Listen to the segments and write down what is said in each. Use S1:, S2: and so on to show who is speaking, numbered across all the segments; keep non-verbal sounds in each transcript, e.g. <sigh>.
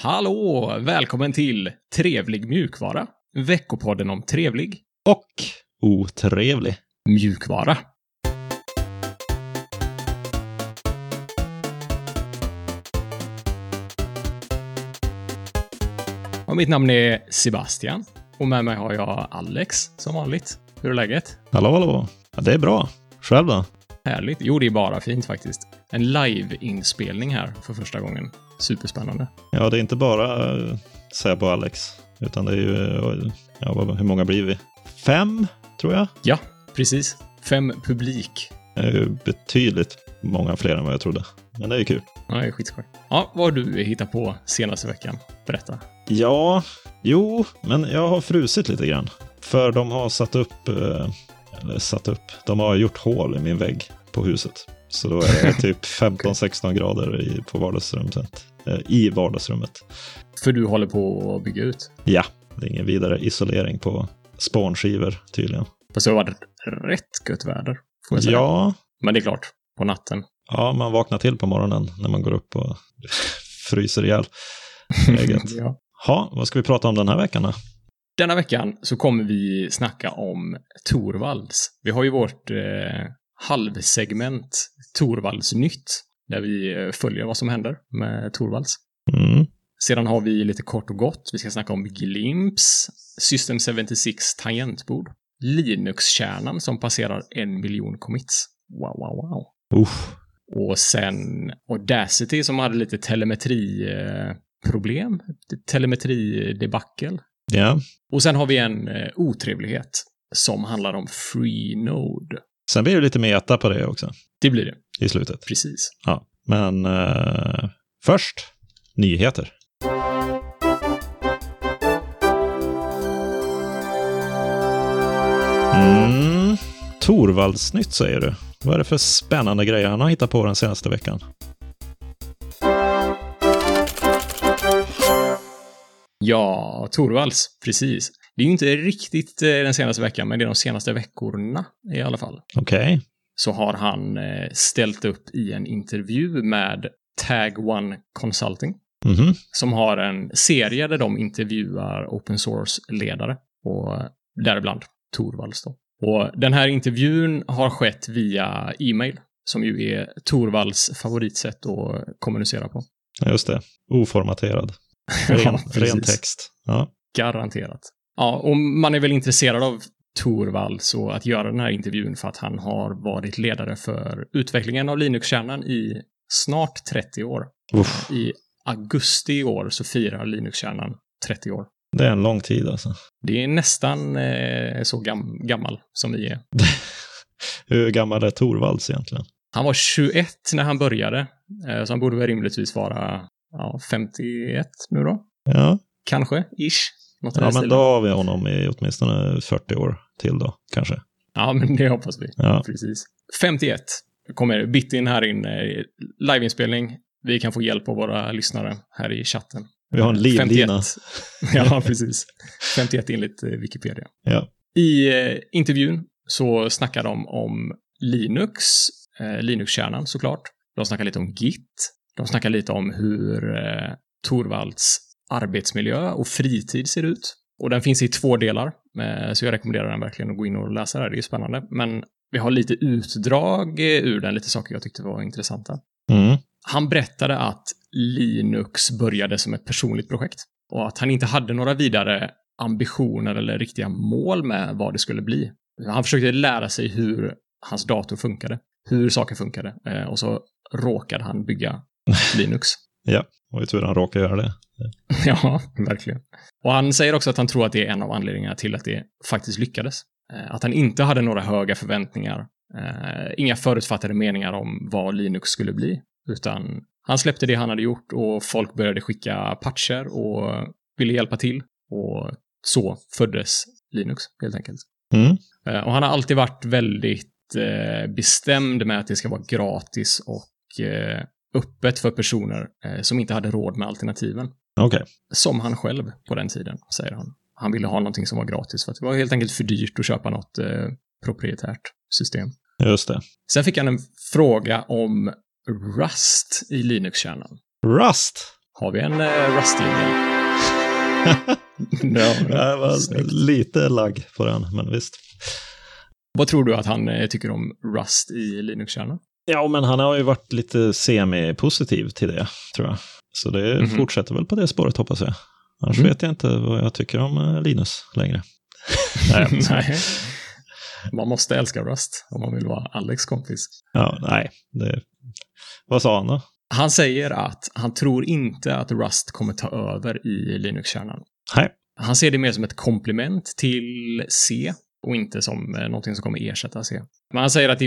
S1: Hallå! Välkommen till Trevlig mjukvara. Veckopodden om trevlig
S2: Och otrevlig.
S1: mjukvara. Och mitt namn är Sebastian och med mig har jag Alex som vanligt. Hur är läget?
S2: Hallå, hallå. Ja, det är bra. Själv då?
S1: Härligt. Jo, det är bara fint faktiskt. En live-inspelning här för första gången. Superspännande.
S2: Ja, det är inte bara eh, Seb och Alex, utan det är ju... eh, Ja, vad- hur många blir vi? Fem, tror jag.
S1: Ja, precis. Fem publik
S2: Det är ju betydligt många fler än vad jag trodde. Men det är ju kul.
S1: Ja, det är skitskoj. Ja, vad har du hittat på senaste veckan? Berätta.
S2: Ja, jo, men jag har frusit lite grann. För de har satt upp, eh, eller satt upp, de har gjort hål i min vägg på huset. Så då är det typ 15-16 grader i, på vardagsrummet. eh, I vardagsrummet.
S1: För du håller på att bygga ut.
S2: Ja, det är ingen vidare isolering på spånskivor tydligen.
S1: Fast det har varit rätt gött väder, får jag säga.
S2: Ja,
S1: Men det är klart, på natten.
S2: ja, man vaknar till på morgonen när man går upp och <laughs> fryser ihjäl.
S1: <laughs>
S2: Läget.
S1: Mm, Ja.
S2: Ha, vad ska vi prata om den här veckan då?
S1: Denna veckan så kommer vi snacka om Torvalds. Vi har ju vårt eh, halvsegment Torvalds nytt, där vi eh, följer vad som händer med Torvalds.
S2: Mm.
S1: Sedan har vi lite kort och gott, vi ska snacka om Glimps, System 76 tangentbord, Linux-kärnan som passerar en miljon commits. Wow, wow, wow.
S2: Uff.
S1: Och sen Audacity som hade lite eh, telemetriproblem, telemetridebackel.
S2: Ja.
S1: Och sen har vi en eh, otrevlighet som handlar om Freenode.
S2: Sen blir det lite meta på det också
S1: Det blir det,
S2: i slutet.
S1: precis.
S2: Ja. Men eh, först, nyheter. Mm. Torvaldsnytt säger du. Vad är det för spännande grejer han har hittat på den senaste veckan?
S1: Ja, Torvalds, precis. Det är ju inte riktigt eh, den senaste veckan, men det är de senaste veckorna i alla fall.
S2: Okej.
S1: så har han eh, ställt upp i en intervju med Tag One Consulting
S2: Mhm.
S1: som har en serie där de intervjuar open source-ledare och eh, däribland Torvalds då. Och den här intervjun har skett via e-mail som ju är Torvalds favoritsätt att kommunicera på.
S2: Ja, Just det. Oformaterad. Ren,
S1: precis.
S2: ren text. Ja.
S1: Garanterat. Ja, och man är väl intresserad av Torvald så att göra den här intervjun för att han har varit ledare för utvecklingen av Linux-kärnan i snart 30 år.
S2: Uff.
S1: I augusti i år så firar Linux-kärnan 30 år.
S2: Det är en lång tid alltså.
S1: Det är nästan eh, så gam- gammal som vi är.
S2: Hur gammal är Torvalds egentligen?
S1: Han var 21 när han började, eh, så han borde väl rimligtvis vara ja, 51 nu då.
S2: Ja,
S1: Kanske, ish. Något i den
S2: ja men
S1: stilen.
S2: då har vi honom i åtminstone 40 år till då, kanske.
S1: Ja, men det hoppas vi.
S2: Ja.
S1: Precis. 51 kommer bit in här in. eh, Liveinspelning. Vi kan få hjälp av våra lyssnare här i chatten.
S2: Vi har en livlina. <laughs>
S1: 51. ja, precis. 51 enligt eh, Wikipedia.
S2: Ja.
S1: I eh, intervjun så snackar de om Linux, eh, Linux-kärnan såklart. De snackar lite om Git. De snackar lite om hur eh, Torvalds arbetsmiljö och fritid ser ut. Och den finns i två delar, eh, så jag rekommenderar den verkligen att gå in och läsa där. Det är ju spännande. Men vi har lite utdrag eh, ur den, lite saker jag tyckte var intressanta.
S2: Mm.
S1: Han berättade att Linux började som ett personligt projekt och att han inte hade några vidare ambitioner eller riktiga mål med vad det skulle bli. Han försökte lära sig hur hans dator funkade, hur saker funkade eh, och så råkade han bygga Linux.
S2: Och ju tur han råkar göra det.
S1: <laughs> Ja, verkligen. Och han säger också att han tror att det är en av anledningarna till att det faktiskt lyckades. Eh, Att han inte hade några höga förväntningar, eh, inga förutfattade meningar om vad Linux skulle bli, utan han släppte det han hade gjort och folk började skicka patcher och ville hjälpa till. Och så föddes Linux, helt enkelt.
S2: Mm.
S1: Eh, Och han har alltid varit väldigt eh, bestämd med att det ska vara gratis och eh, öppet för personer eh, som inte hade råd med alternativen
S2: Okej.
S1: som han själv på den tiden, säger han. Han ville ha någonting som var gratis för att det var helt enkelt för dyrt att köpa något eh, proprietärt system.
S2: Just det.
S1: Sen fick han en fråga om Rust i Linux-kärnan.
S2: Rust!
S1: Har vi en eh, Rust-jingel?
S2: <laughs>
S1: <laughs> ja,
S2: Det här var
S1: Mm. snyggt.
S2: lite lagg på den, men visst.
S1: Vad tror du att han eh, tycker om Rust i Linux-kärnan?
S2: Ja, men han har ju varit lite semi-positiv till det, tror jag. Så det
S1: Mhm.
S2: fortsätter väl på det spåret, hoppas jag. Annars
S1: Mm.
S2: vet jag inte vad jag tycker om eh, Linus
S1: <laughs>
S2: längre. Nej, jag skojar.
S1: Nej. Man måste älska Rust om man vill vara Alex kompis.
S2: ja, nej. Det... Vad sa han då?
S1: Han säger att han tror inte att Rust kommer ta över i Linux-kärnan.
S2: Nej.
S1: Han ser det mer som ett komplement till C och inte som eh, någonting som kommer ersätta C. Men han säger att det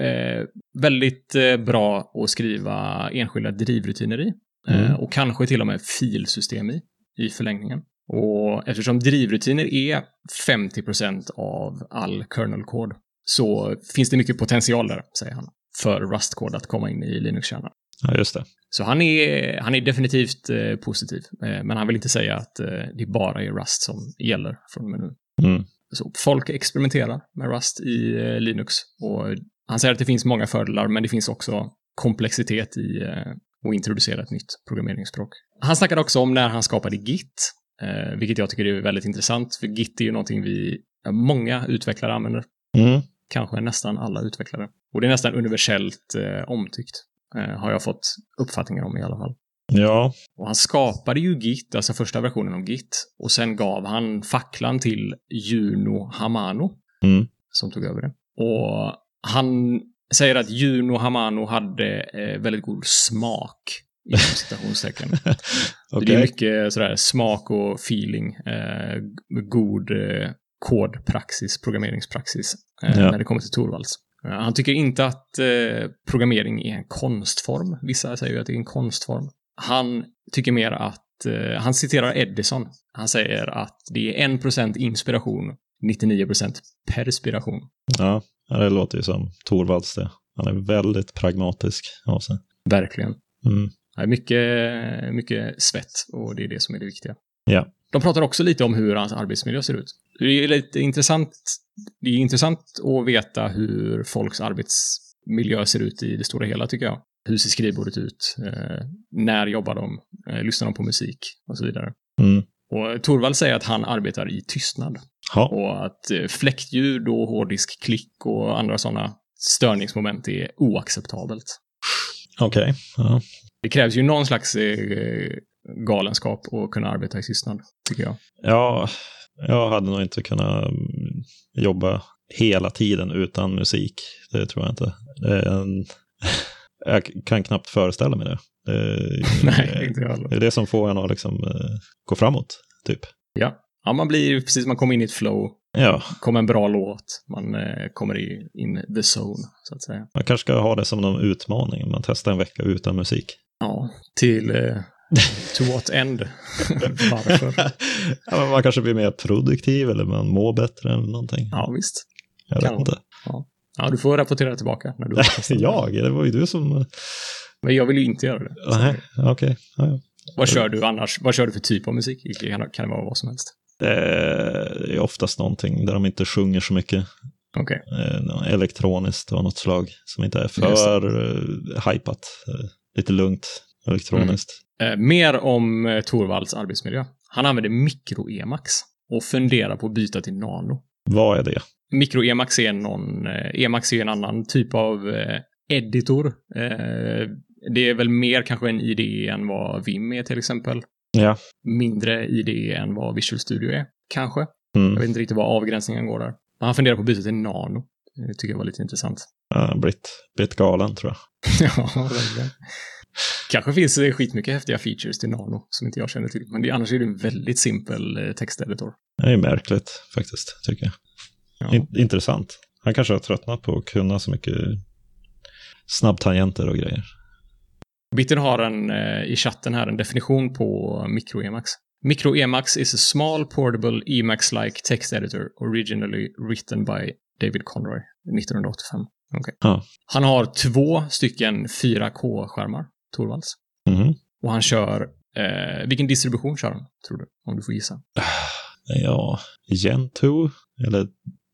S1: är eh, väldigt eh, bra att skriva enskilda drivrutiner i eh,
S2: Mm.
S1: och kanske till och med filsystem i, i förlängningen. Och eftersom drivrutiner är 50% av all kernel-kod så finns det mycket potential där, säger han, för Rust-kod att komma in i Linux-kärnan.
S2: Ja, just det.
S1: Så han är, han är definitivt eh, positiv, eh, men han vill inte säga att eh, det bara är Rust som gäller från och med nu.
S2: Mm.
S1: Så folk experimenterar med Rust i eh, Linux och han säger att det finns många fördelar, men det finns också komplexitet i eh, att introducera ett nytt programmeringsspråk. Han snackade också om när han skapade Git, eh, vilket jag tycker är väldigt intressant, för Git är ju någonting vi, många utvecklare använder
S2: Mm.
S1: kanske nästan alla utvecklare. Och det är nästan universellt eh, omtyckt, eh, har jag fått uppfattningen om i alla fall.
S2: Ja,
S1: Och han skapade ju Git, alltså första versionen av Git, och sen gav han facklan till Juno Hamano,
S2: Mm.
S1: som tog över det. Och han säger att Juno Hamano hade eh, väldigt god smak, inom citationstecken. Det är
S2: okej.
S1: mycket sådär smak och feeling, eh, g- god eh, kodpraxis, programmeringspraxis eh,
S2: Ja.
S1: när det kommer till Torvalds. Eh, han tycker inte att eh, programmering är en konstform. Vissa säger ju att det är en konstform. Han tycker mer att, eh, han citerar Edison. Han säger att det är 1% inspiration, 99% perspiration.
S2: Ja, det låter ju som Torvalds det. Han är väldigt pragmatisk av sig.
S1: Verkligen.
S2: Mm.
S1: Det är mycket, mycket svett och det är det som är det viktiga.
S2: Ja.
S1: De pratar också lite om hur hans arbetsmiljö ser ut. Det är lite intressant. Det är intressant att veta hur folks arbetsmiljö ser ut i det stora hela, tycker jag. Hur ser skrivbordet ut? Eh, när jobbar de? Eh, lyssnar de på musik? Och så vidare.
S2: Mm.
S1: Och Torvald säger att han arbetar i tystnad
S2: Ja,
S1: och att eh, fläktljud och hårddisk-klick och andra sådana störningsmoment är oacceptabelt.
S2: okej. Ja.
S1: Det krävs ju någon slags eh, galenskap att kunna arbeta i tystnad, tycker jag.
S2: Ja, jag hade nog inte kunnat mm, jobba hela tiden utan musik. Det tror jag inte. Det är en... <laughs> Jag kan knappt föreställa mig det. Det är-
S1: Nej, inte jag heller.
S2: det är det som får en att liksom eh, gå framåt, typ.
S1: Ja, man blir ju precis, man kommer in i ett flow,
S2: Ja,
S1: kommer en bra låt, man eh, kommer i, in the zone, så att säga.
S2: man kanske ska ha det som någon utmaning. Man testar en vecka utan musik. <laughs>
S1: Ja, till eh, to what end? Varför?
S2: ja, men man kanske blir mer produktiv eller man mår bättre eller någonting.
S1: Ja, visst.
S2: Jag
S1: kan
S2: vet
S1: vara.
S2: inte.
S1: Ja, du får rapportera tillbaka när du har testat.
S2: <laughs> Jag? Det var ju du som...
S1: Men jag vill ju inte göra det.
S2: Nej, okej. Ja, ja.
S1: Vad kör du annars? Vad kör du för typ av musik? Det Kan, kan det vara vad som helst?
S2: Det är oftast någonting där de inte sjunger så mycket.
S1: Okej.
S2: Eh, något Elektroniskt av något slag som inte är
S1: Just
S2: för eh, hypat. Eh, Lite lugnt elektroniskt.
S1: Eh, mer om eh, Torvalds arbetsmiljö. Han använder mikro-Emacs och funderar på att byta till nano.
S2: Vad är det?
S1: Mikro-Emacs är, någon, eh, Emacs är en annan typ av eh, editor. Eh, det är väl mer kanske en IDE än vad Vim är till exempel.
S2: Ja.
S1: Mindre IDE än vad Visual Studio är, kanske. Jag
S2: Mm.
S1: vet inte riktigt vad avgränsningen går där. Men han funderar på att byta till nano. Det tycker jag var lite intressant.
S2: Ja, blivit, blivit galen tror jag.
S1: <laughs> Ja, verkligen. Kanske finns det skitmycket häftiga features till Nano som inte jag känner till. Men det, annars är det en väldigt simpel eh, texteditor.
S2: Det är märkligt faktiskt, tycker jag.
S1: Ja.
S2: In- intressant. Han kanske har tröttnat på att kunna så mycket snabbtangenter och grejer.
S1: Bitten har en, eh, i chatten här en definition på micro-Emacs. Micro-Emacs is a small portable Emacs-like text editor originally written by David Conroy 1985. Okej.
S2: Ja.
S1: Han har två stycken 4K-skärmar, Torvalds.
S2: Mhm.
S1: Och han kör... Eh, vilken distribution kör han, tror du? Om du får gissa.
S2: Ja, Gentoo eller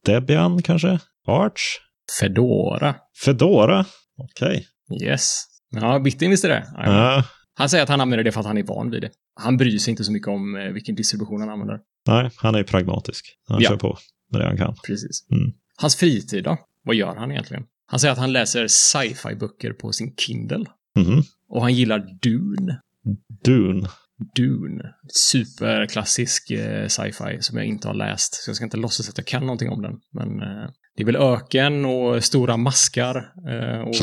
S2: Debian kanske? Arch?
S1: Fedora.
S2: Fedora? Okej.
S1: Yes. Ja, Bitte visste det.
S2: Ja,
S1: Han säger att han använder det för att han är van vid det. Han bryr sig inte så mycket om eh, vilken distribution han använder.
S2: Nej, han är ju pragmatisk. Han
S1: Ja.
S2: kör på med det han kan.
S1: Precis.
S2: Mm.
S1: Hans fritid då? Vad gör han egentligen? Han säger att han läser sci-fi-böcker på sin Kindle.
S2: Mhm.
S1: Och han gillar Dune.
S2: Dune.
S1: Dune. Superklassisk eh, sci-fi som jag inte har läst. Så jag ska inte låtsas att jag kan någonting om den. Men eh, det är väl öken och stora maskar. Eh, och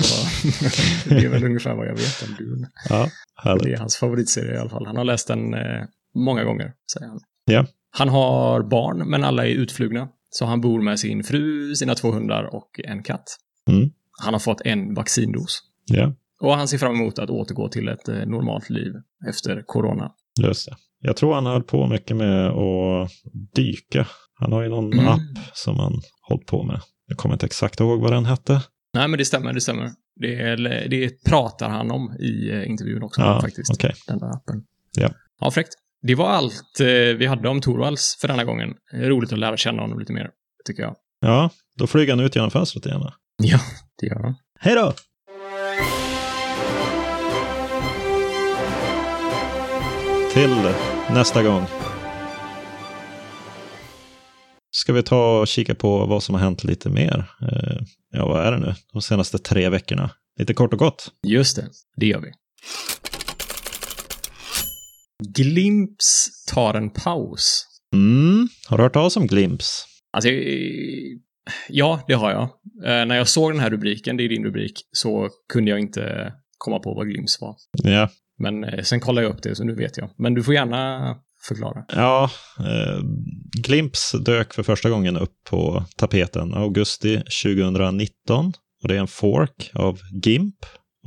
S1: <laughs> det är väl ungefär vad jag vet om Dune.
S2: Ja,
S1: Det
S2: härligt.
S1: är hans favoritserie i alla fall. Han har läst den eh, många gånger, säger han.
S2: Ja.
S1: Han har barn, men alla är utflugna. Så han bor med sin fru, sina två hundar och en katt.
S2: Mm.
S1: Han har fått en vaccindos.
S2: Ja,
S1: Och han ser fram emot att återgå till ett eh, normalt liv efter corona.
S2: just det. Jag tror han höll på mycket med att dyka. Han har ju någon
S1: Mm.
S2: app som han hållit på med. Jag kommer inte exakt ihåg vad den hette.
S1: Nej, men det stämmer, det stämmer. Det, är, det pratar han om i eh, intervjun också,
S2: Ja,
S1: faktiskt.
S2: Ah, Okej.
S1: den där appen.
S2: Ja.
S1: Ja, fräckt. Det var allt eh, vi hade om Torvalds för denna gången. Det är Roligt att lära känna honom lite mer, tycker jag.
S2: Ja, då flyger han ut genom fönstret igen. då.
S1: Ja, det gör han.
S2: Hej då! Till nästa gång. Ska vi ta och kika på vad som har hänt lite mer? Eh, Ja, vad är det nu? De senaste tre veckorna. Lite kort och gott.
S1: Just det, det gör vi. Glimps tar en paus.
S2: Mm. Har du hört talas om Glimps?
S1: Alltså, eh, ja, det har jag. Eh, när jag såg den här rubriken, det är din rubrik, så kunde jag inte komma på vad Glimps var.
S2: Ja,
S1: Men eh, sen kollade jag upp det, så nu vet jag. Men du får gärna förklara.
S2: Ja, eh, Glimps dök för första gången upp på tapeten augusti 2019. Och det är en fork av GIMP.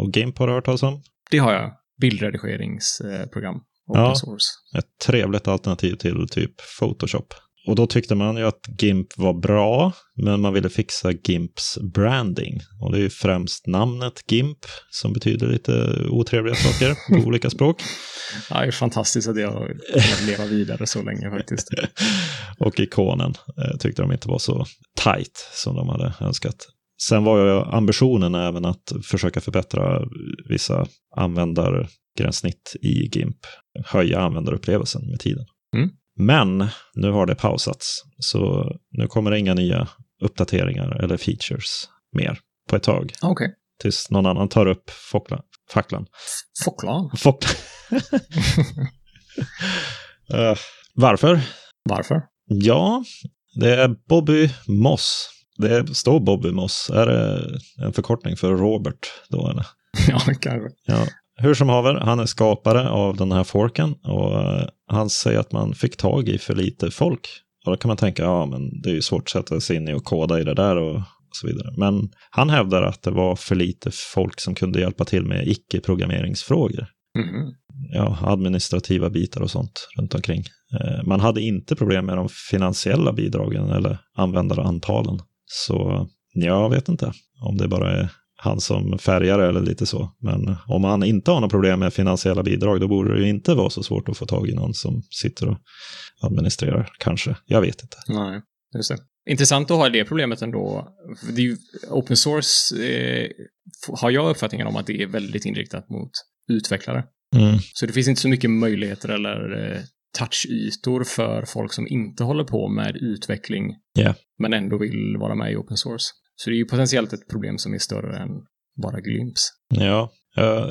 S2: Och GIMP har du hört talas om.
S1: Det har jag. Bildredigeringsprogram. Open
S2: Ja.
S1: source.
S2: Ett trevligt alternativ till typ Photoshop. Och då tyckte man ju att GIMP var bra, men man ville fixa GIMPs branding. Och det är ju främst namnet GIMP som betyder lite otrevliga saker på olika språk.
S1: Ja, det är fantastiskt att jag har kunnat leva vidare så länge faktiskt.
S2: <laughs> och ikonen eh, tyckte de inte var så tight som de hade önskat. Sen var ju ambitionen även att försöka förbättra vissa användargränssnitt i GIMP. Höja användarupplevelsen med tiden.
S1: Mm.
S2: Men nu har det pausats, så nu kommer det inga nya uppdateringar eller features mer på ett tag.
S1: Okej. Okay.
S2: Tills någon annan tar upp fockla- facklan.
S1: Foklan.
S2: Fockla. Eh, varför?
S1: Varför? <laughs>
S2: Ja, det är Bobby Moss. Det står Bobby Moss. Är det en förkortning för Robert då eller?
S1: ja, kanske.
S2: Ja. Hur som haver, han är skapare av den här forken och eh, han säger att man fick tag i för lite folk. Och då kan man tänka, ja men det är ju svårt att sätta sig in i och koda i det där och så vidare. Men han hävdar att det var för lite folk som kunde hjälpa till med icke-programmeringsfrågor
S1: Mhm.
S2: ja, administrativa bitar och sånt runt omkring. Eh, Man hade inte problem med de finansiella bidragen eller användarantalen. Så jag vet inte om det bara är han som färgare eller lite så. Men om han inte har några problem med finansiella bidrag, då borde det ju inte vara så svårt att få tag i någon som sitter och administrerar, kanske. Jag vet inte.
S1: Nej, just det. Intressant att ha det problemet ändå. För Det är ju, open source eh, f- har jag uppfattningen om att det är väldigt inriktat mot utvecklare.
S2: Mm.
S1: Så det finns inte så mycket möjligheter eller eh, touchytor för folk som inte håller på med utveckling
S2: Ja.
S1: men ändå vill vara med i open source. Så det är ju potentiellt ett problem som är större än bara Glimps.
S2: Ja, eh,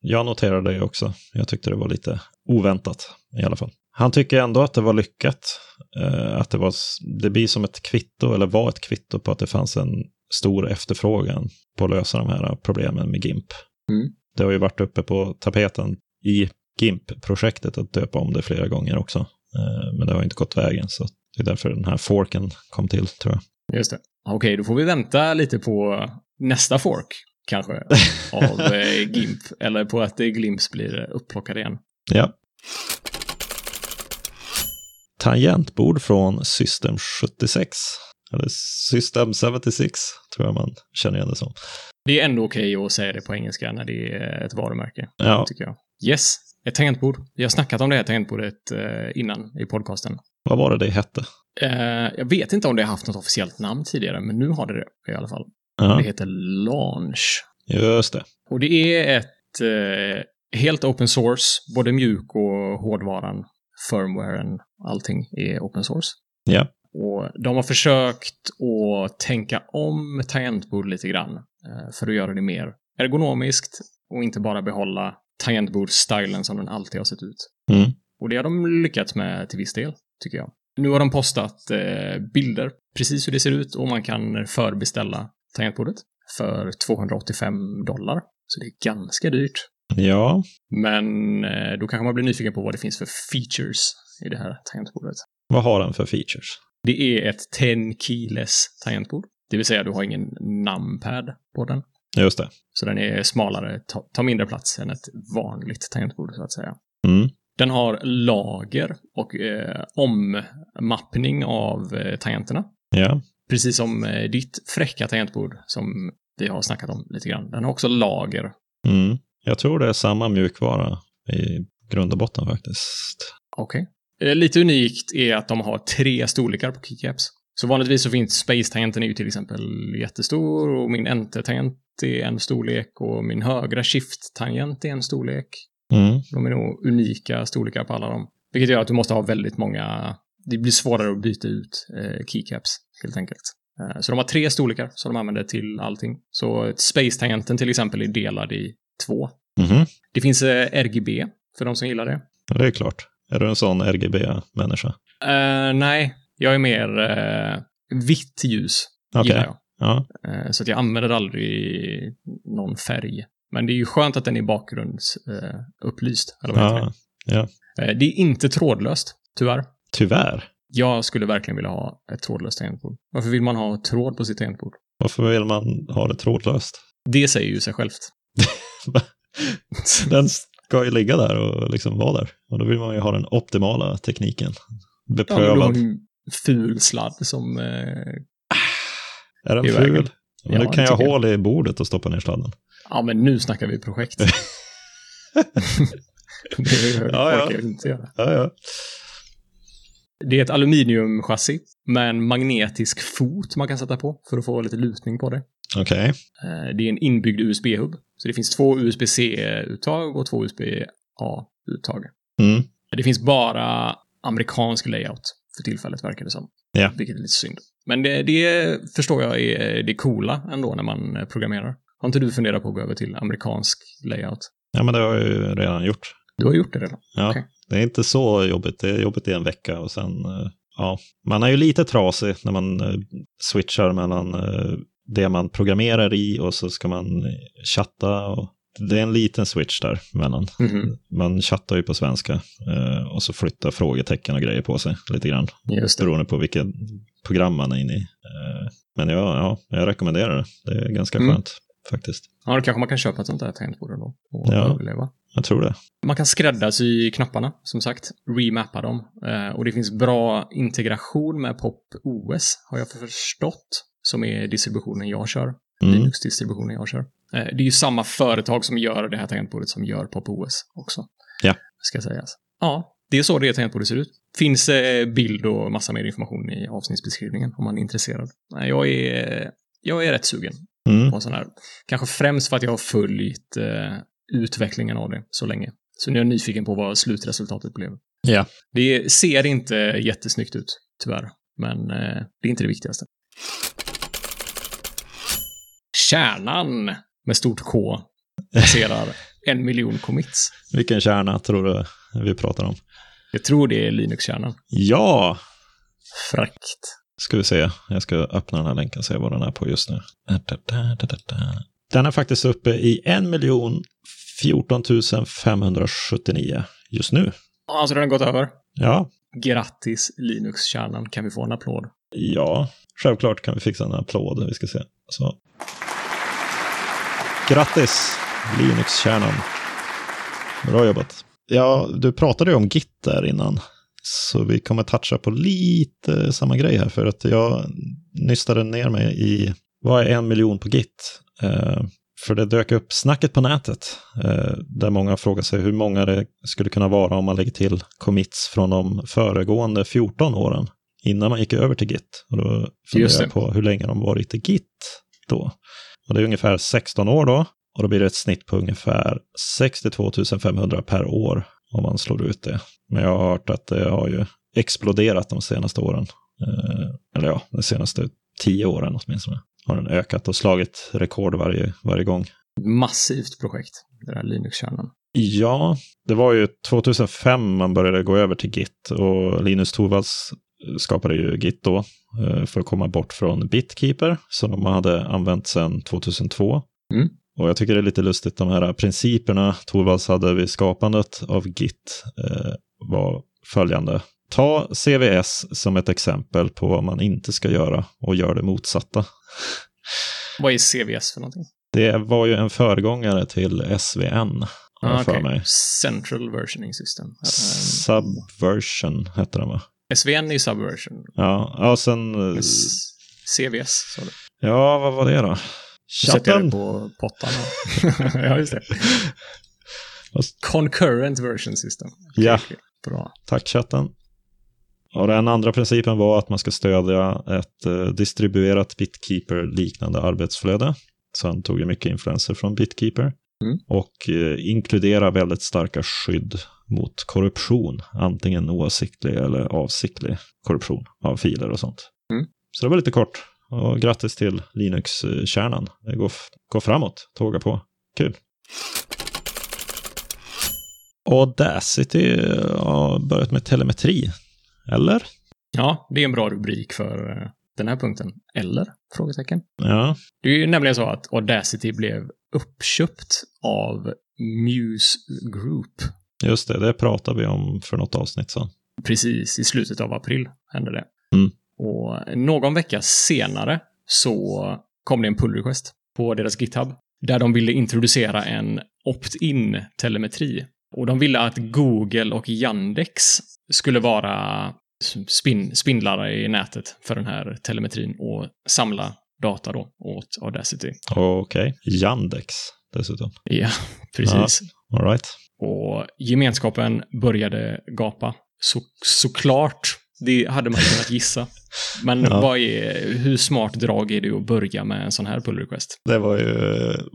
S2: jag noterade det också. Jag tyckte det var lite oväntat i alla fall. Han tycker ändå att det var lyckat. eh, Att det, var, s- det blir som ett kvitto, eller var ett kvitto på att det fanns en stor efterfrågan på att lösa de här problemen med GIMP.
S1: Mm.
S2: Det har ju varit uppe på tapeten i GIMP-projektet att döpa om det flera gånger också. Eh, Men det har ju inte gått vägen, så det är därför den här forken kom till, tror jag.
S1: Just det. Okej, då får vi vänta lite på nästa fork, kanske, av eh, GIMP. Eller på att eh, Glimps blir upplockad igen.
S2: Ja. Tangentbord från System 76. Eller System 76, tror jag man känner igen det som.
S1: Det är ändå okej att säga det på engelska när det är ett varumärke,
S2: Ja,
S1: tycker jag. Yes, ett tangentbord. Vi har snackat om det här tangentbordet eh, innan i podcasten.
S2: vad var det det hette?
S1: Eh, jag vet inte om det har haft något officiellt namn tidigare, men nu har det det i alla fall.
S2: Ja,
S1: Det heter Launch.
S2: just det.
S1: Och det är ett eh, helt open source, både mjuk och hårdvaran, firmwaren, allting är open source.
S2: Ja.
S1: Och de har försökt att tänka om tangentbord lite grann eh, för att göra det mer ergonomiskt och inte bara behålla tangentbordsstylen som den alltid har sett ut.
S2: Mm.
S1: Och det har de lyckats med till viss del, tycker jag. Nu har de postat eh, bilder precis hur det ser ut och man kan förbeställa tangentbordet för 285 dollar. Så det är ganska dyrt.
S2: Ja,
S1: Men eh, då kanske man blir nyfiken på vad det finns för features i det här tangentbordet.
S2: vad har den för features?
S1: Det är ett 10 keyless tangentbord, det vill säga du har ingen numpad på den.
S2: Just det.
S1: Så den är smalare, ta- tar mindre plats än ett vanligt tangentbord så att säga.
S2: Mm.
S1: Den har lager och eh, ommappning av eh, tangenterna.
S2: Ja,
S1: Precis som eh, ditt fräcka tangentbord som vi har snackat om lite grann. Den har också lager.
S2: mm. jag tror det är samma mjukvara i grund och botten faktiskt.
S1: Okej. Eh, lite unikt är att de har tre storlekar på keycaps. Så vanligtvis så finns space-tangenten är ju till exempel jättestor och min enter-tangent är en storlek och min högra shift-tangent är en storlek.
S2: Mm.
S1: De är nog unika storlekar på alla dem. Vilket gör att du måste ha väldigt många... Det blir svårare att byta ut eh, keycaps, helt enkelt. Eh, så de har tre storlekar som de använder till allting. Så ett space-tangenten till exempel är delad i två.
S2: Mhm.
S1: Det finns eh, RGB, för de som gillar det.
S2: Det är klart. Är du en sån RGB-människa?
S1: Eh, nej, jag är mer eh, vitt ljus,
S2: Okej.
S1: gillar jag.
S2: Ja.
S1: Eh, Så att jag använder aldrig någon färg. Men det är ju skönt att den är bakgrundsupplyst. Eller vad heter
S2: ja.
S1: det? Eh, Det är inte trådlöst, tyvärr.
S2: Tyvärr.
S1: Jag skulle verkligen vilja ha ett trådlöst tangentbord. Varför vill man ha tråd på sitt tangentbord?
S2: Varför vill man ha det trådlöst?
S1: Det säger ju sig självt.
S2: <laughs> Den ska ju ligga där och liksom vara där. Och då vill man ju ha den optimala tekniken.
S1: Ja, men du har
S2: Beprövad.
S1: en ful sladd som... Eh,
S2: är den
S1: i vägen.
S2: ful? Men
S1: Ja,
S2: nu kan
S1: det
S2: jag ha
S1: tycker jag.
S2: hål i bordet och stoppa ner sladden.
S1: ja, men nu snackar vi
S2: <laughs>
S1: projekt. <laughs> det orkar
S2: Ja, ja.
S1: jag inte göra.
S2: Ja, ja.
S1: Det är ett aluminiumchassi med en magnetisk fot man kan sätta på för att få lite lutning på det.
S2: Okej.
S1: Eh, Det är en inbyggd USB-hub. Så det finns två USB-C-uttag och två USB-A-uttag.
S2: Mm.
S1: Det finns bara amerikansk layout för tillfället, verkar det som.
S2: Ja.
S1: Vilket är lite synd. Men det, det förstår jag är det coola ändå när man eh, programmerar. Har inte du funderat på att gå över till amerikansk layout?
S2: Ja, men det har jag ju redan gjort.
S1: Du har gjort det redan.
S2: Ja.
S1: Okej.
S2: Det är inte så jobbigt. Det är jobbigt i en vecka och sen, eh, ja. Man är ju lite trasig när man eh, switchar mellan eh, det man programmerar i och så ska man chatta. Och det är en liten switch där mellan.
S1: Mhm,
S2: Man chattar ju på svenska eh, och så flyttar frågetecken och grejer på sig lite grann.
S1: Just det.
S2: Beroende på vilket program man är inne i. Eh, Men ja, ja, jag rekommenderar det. Det är ganska
S1: Mm.
S2: skönt faktiskt.
S1: Ja, då kanske man kan köpa ett sånt där tangentbord ändå och
S2: Ja.
S1: överleva.
S2: Jag tror det.
S1: Man kan skräddarsy knapparna, som sagt. Remappa dem. Eh, och det finns bra integration med Pop OS, har jag förstått, som är distributionen jag kör.
S2: Mm.
S1: Linux-distributionen jag kör. Eh, Det är ju samma företag som gör det här tangentbordet som gör Pop OS också.
S2: Ja.
S1: Ska sägas. Ja, det är så det tangentbordet ser ut. Finns eh, bild och massa mer information i avsnittsbeskrivningen om man är intresserad. Nej, Jag är, jag är rätt sugen
S2: Mm.
S1: på en sån här. Kanske främst för att jag har följt eh, utvecklingen av det så länge. Så nu är jag nyfiken på vad slutresultatet blev.
S2: Ja.
S1: Det ser inte jättesnyggt ut, tyvärr. Men eh, det är inte det viktigaste. Kärnan med stort K passerar
S2: <laughs>
S1: en miljon commits.
S2: Vilken kärna tror du vi pratar om?
S1: Jag tror det är Linux-kärnan.
S2: Ja,
S1: Frakt.
S2: ska vi se. Jag ska öppna den här länken och se vad den är på just nu. Den är faktiskt uppe i 1 miljon 14 579 just nu.
S1: Alltså, den har gått över.
S2: Ja,
S1: Grattis Linux-kärnan. Kan vi få en applåd?
S2: ja, självklart kan vi fixa en applåd. Vi ska se. Så. Grattis, Linux-kärnan. Bra jobbat. Ja, du pratade ju om Git där innan. Så vi kommer toucha på lite samma grej här. För att jag nystade ner mig i vad är en miljon på Git? Eh, för det dök upp snacket på nätet. Eh, där många frågar sig hur många det skulle kunna vara om man lägger till commits från de föregående 14 åren. Innan man gick över till Git. Och då funderar
S1: Just det.
S2: jag på hur länge de varit i Git då. Och det är ungefär 16 år då. Och då blir det ett snitt på ungefär 62 500 per år om man slår ut det. Men jag har hört att det har ju exploderat de senaste åren. Eh, eller ja, de senaste tio åren åtminstone. Har den ökat och slagit rekord varje, varje gång.
S1: Massivt projekt, den här Linux-kärnan.
S2: Ja, det var ju 2005 man började gå över till Git och Linus Torvalds skapade ju Git då eh, för att komma bort från Bitkeeper som de hade använt sedan 2002.
S1: Mm.
S2: Och jag tycker det är lite lustigt, de här principerna Torvalds hade vid skapandet av Git eh, var följande. Ta CVS som ett exempel på vad man inte ska göra och gör det motsatta.
S1: Vad är CVS för någonting?
S2: Det var ju en föregångare till SVN, har jag för
S1: okej.
S2: mig.
S1: Central Versioning System. Eh,
S2: Subversion hette den va?
S1: SVN är ju Subversion.
S2: Ja, ja sen... eh,
S1: S- CVS, sa du.
S2: Ja, vad var det då?
S1: Nu sätter jag det
S2: Chatten.
S1: på pottan. här. <laughs> ja, just det.
S2: Fast-
S1: Concurrent Version System. Okej,
S2: Ja.
S1: okej. Bra.
S2: Tack chatten. Och den andra principen var att man ska stödja ett eh, distribuerat Bitkeeper-liknande arbetsflöde. Så han tog ju mycket influenser från Bitkeeper.
S1: Mm.
S2: Och eh, inkludera väldigt starka skydd mot korruption. Antingen oavsiktlig eller avsiktlig korruption av filer och sånt.
S1: Mm.
S2: Så det var lite kort. Och grattis till Linux-kärnan. Det går, f- går framåt. Tåga på. Audacity har börjat med telemetri. Eller?
S1: Ja, det är en bra rubrik för eh, den här punkten. Eller? Frågetecken.
S2: Ja.
S1: Det är ju nämligen så att Audacity blev uppköpt av Muse Group.
S2: Just det, det pratade vi om för något avsnitt sedan.
S1: Precis i slutet av april hände det.
S2: Mm.
S1: Och någon vecka senare så kom det en pull request på deras GitHub där de ville introducera en opt-in telemetri. Och de ville att Google och Yandex skulle vara spin spindlar i nätet för den här telemetrin och samla data då åt Audacity.
S2: Okej. Yandex dessutom.
S1: Ja, precis.
S2: All right.
S1: Och gemenskapen började gapa. Så, såklart, det hade man kunnat gissa. Men
S2: <laughs> Ja.
S1: vad är, hur smart drag är det att börja med en sån här pull request?
S2: Det var ju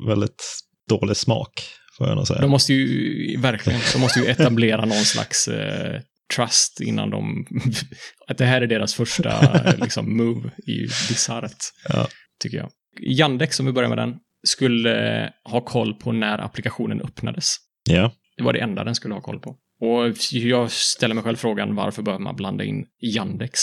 S2: väldigt dålig smak, får jag nog säga.
S1: De måste ju, verkligen, de måste ju etablera någon slags eh, trust innan de... <laughs> att det här är deras första
S2: <laughs>
S1: eh, liksom, move är ju bisarrt,
S2: Ja.
S1: tycker jag. Yandex, om vi börjar med den, skulle ha koll på när applikationen öppnades.
S2: Ja.
S1: Det var det enda den skulle ha koll på. Och jag ställer mig själv frågan varför behöver man blanda in Yandex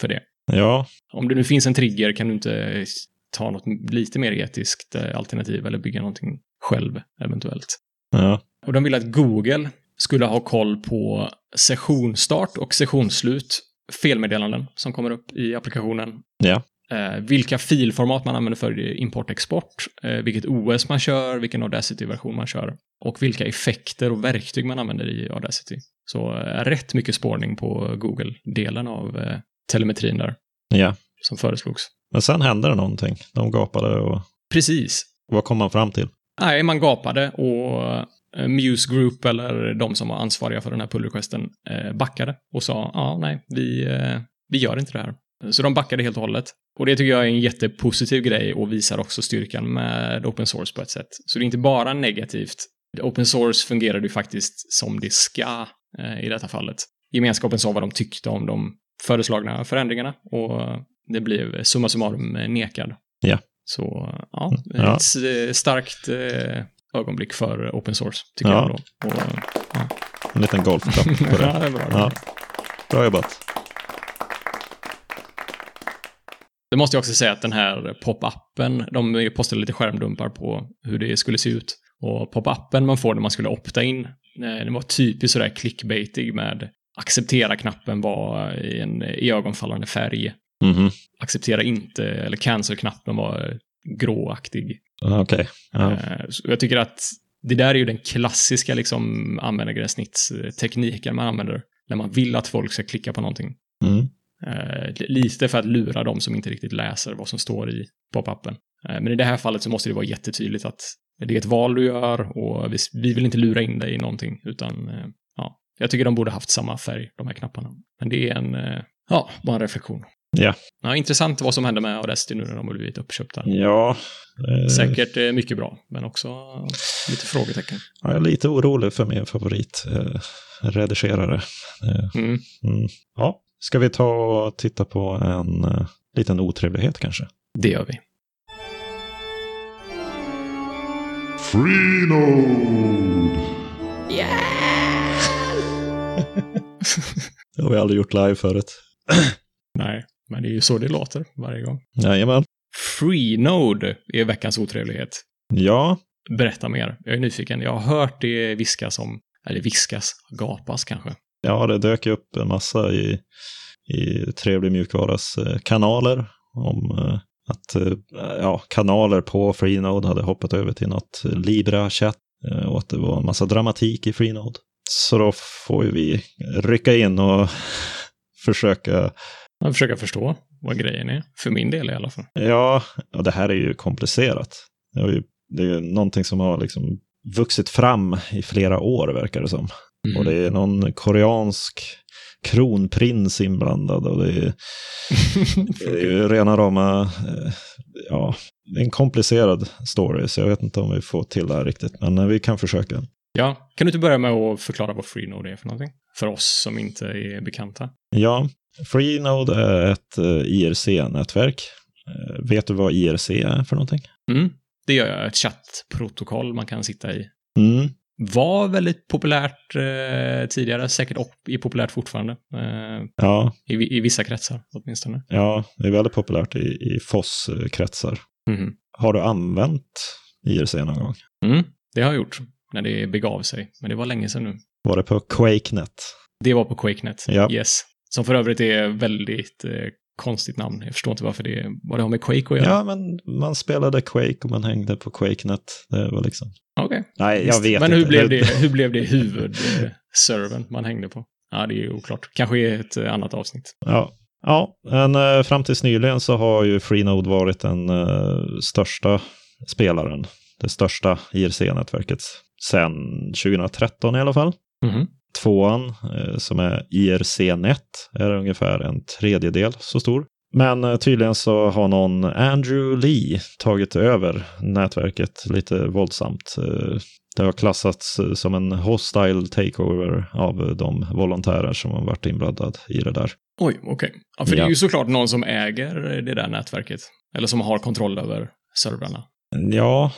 S1: för det?
S2: ja,
S1: Om det nu finns en trigger kan du inte ta något lite mer etiskt eh, alternativ eller bygga någonting själv eventuellt.
S2: ja,
S1: Och de ville att Google skulle ha koll på sessionstart och sessionsslut, felmeddelanden som kommer upp i applikationen.
S2: Ja.
S1: Eh, vilka filformat man använder för import-export, eh, vilket OS man kör, vilken Audacity-version man kör och vilka effekter och verktyg man använder i Audacity. Så eh, rätt mycket spårning på Google-delen av eh, telemetrin där
S2: ja.
S1: som föreslogs.
S2: Men sen hände det någonting. De gapade och
S1: Precis,
S2: vad kom man fram till?
S1: Nej, man gapade och eh, Muse Group, eller de som var ansvariga för den här pull requesten, eh, backade och sa ja, nej, vi, eh, vi gör inte det här. Så de backade helt och hållet. Och det tycker jag är en jättepositiv grej och visar också styrkan med open source på ett sätt. Så det är inte bara negativt. Open source fungerade ju faktiskt som det ska eh, i detta fallet. Gemenskapen sa vad de tyckte om de föreslagna förändringarna och eh, det blev summa summarum eh, nekad.
S2: Ja. Mm.
S1: Så ja,
S2: Ja.
S1: ett eh, starkt eh, ögonblick för open source, tycker jag
S2: Ja.
S1: då. Och,
S2: En liten golfklapp på
S1: <laughs> ja,
S2: det.
S1: det är bra.
S2: Ja. Bra jobbat.
S1: Det måste jag också säga att den här pop-appen, de postade lite skärmdumpar på hur det skulle se ut. Och pop-appen man får när man skulle opta in, eh, den var typiskt sådär clickbaitig med acceptera-knappen var i en iögonfallande färg.
S2: Mhm.
S1: Acceptera inte, eller cancel-knappen var gråaktig.
S2: Okej. Ja.
S1: Eh, så Jag tycker att det där är ju den klassiska liksom användargränssnittstekniken man använder när man vill att folk ska klicka på någonting.
S2: Mm.
S1: Eh, lite för att lura dem som inte riktigt läser vad som står i pop-appen. Eh, men i det här fallet så måste det vara jättetydligt att det är ett val du gör och vi, vi vill inte lura in dig i någonting, utan eh, ja, jag tycker de borde haft samma färg, de här knapparna. Men det är en, eh, ja, bara en reflektion.
S2: Ja. Mm.
S1: Ja, intressant vad som hände med Audacity nu när de har blivit uppköpta.
S2: Ja. eh,
S1: Säkert eh, mycket bra, men också lite frågetecken.
S2: Jag är lite orolig för min favorit eh, redigerare. Eh,
S1: Mm.
S2: mm. Ja, ska vi ta och titta på en eh, liten otrevlighet kanske?
S1: Det gör vi.
S3: Freenode!
S1: <laughs>
S2: Det har vi aldrig gjort live förut.
S1: Nej, men det är ju så det låter varje gång.
S2: Jajamän.
S1: Freenode är veckans otrevlighet.
S2: Ja,
S1: Berätta mer. Jag är nyfiken. Jag har hört det viskas om, eller viskas, gapas kanske.
S2: ja, det dök ju upp en massa i, i Trevlig mjukvaras eh, kanaler om eh, att eh, ja, kanaler på Freenode hade hoppat över till något Libra-chatt eh, och att det var en massa dramatik i Freenode. Så då får ju vi rycka in och <laughs> försöka
S1: Jag försöker förstå vad grejen är. För min del i alla fall.
S2: Ja, och det här är ju komplicerat. Det är ju, det är ju någonting som har liksom vuxit fram i flera år, verkar det som. Mm. Och det är någon koreansk kronprins inblandad och det är, det är ju rena rama, eh, ja, det är en komplicerad story, så jag vet inte om vi får till det här riktigt, men eh, vi kan försöka.
S1: <laughs> Ja, kan du inte börja med att förklara vad Freenode är för någonting? För oss som inte är bekanta.
S2: Ja, Freenode är ett eh, IRC-nätverk. Eh, Vet du vad IRC är för någonting?
S1: Mm. Det gör jag, ett chattprotokoll man kan sitta i.
S2: Mm.
S1: Var väldigt populärt eh, tidigare, säkert op- är populärt fortfarande. Eh,
S2: Ja,
S1: i, vi- I vissa kretsar åtminstone.
S2: Ja, det är väldigt populärt i, i FOSS-kretsar.
S1: Mhm.
S2: Har du använt IRC någon gång?
S1: Mm. Det har jag gjort, när det begav sig. Men det var länge sedan nu.
S2: Var det på QuakeNet?
S1: Det var på QuakeNet.
S2: Ja.
S1: Yes. Som för övrigt är väldigt eh, konstigt namn. Jag förstår inte varför det, vad det har med Quake att
S2: Ja.
S1: göra.
S2: men man spelade Quake och man hängde på QuakeNet. Det var liksom...
S1: Okej.
S2: Nej, jag
S1: Visst.
S2: vet
S1: Men
S2: inte.
S1: hur blev det, hur blev det huvudservern man hängde på? Ja, det är ju oklart. Kanske är ett eh, annat avsnitt.
S2: Ja. Ja, men eh, fram tills nyligen så har ju Freenode varit den eh, största spelaren. Det största IRC-nätverket sedan 2013 i alla fall.
S1: Mhm.
S2: Tvåan, eh, som är IRC-net, är ungefär en tredjedel så stor. Men eh, tydligen så har någon Andrew Lee tagit över nätverket lite våldsamt. Eh, Det har klassats eh, som en hostile takeover av eh, de volontärer som har varit inblandade i det där.
S1: Oj, okej. Ja, för det är
S2: Ja.
S1: ju såklart någon som äger det där nätverket. Eller som har kontroll över servrarna.
S2: Ja,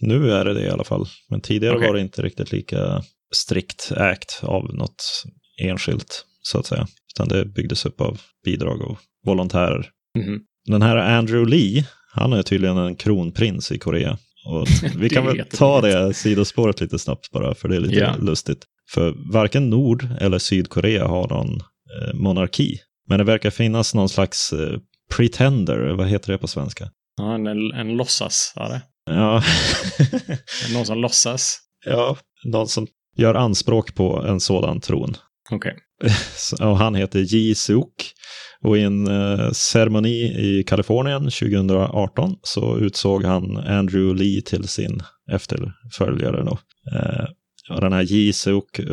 S2: nu är det det i alla fall. Men tidigare
S1: Okej.
S2: var det inte riktigt lika strikt ägt av något enskilt, så att säga. Utan det byggdes upp av bidrag och volontärer.
S1: Mhm.
S2: Den här Andrew Lee, han är tydligen en kronprins i Korea.
S1: <laughs>
S2: Och vi kan
S1: Det är
S2: väl ta det sidospåret lite snabbt bara, för det är lite
S1: Ja.
S2: lustigt. För varken Nord eller Sydkorea har någon eh, monarki. Men det verkar finnas någon slags eh, pretender, vad heter det på svenska?
S1: Ja, en, en låtsasare.
S2: Ja,
S1: <laughs> Någon som låtsas.
S2: ja någon som gör anspråk på en sådan tron.
S1: Okej.
S2: <laughs> Så- Och han heter Ji Suk. Och i en eh, ceremoni i Kalifornien 2018 så utsåg han Andrew Lee till sin efterföljare. Då. Eh, och den här Ji Suk eh,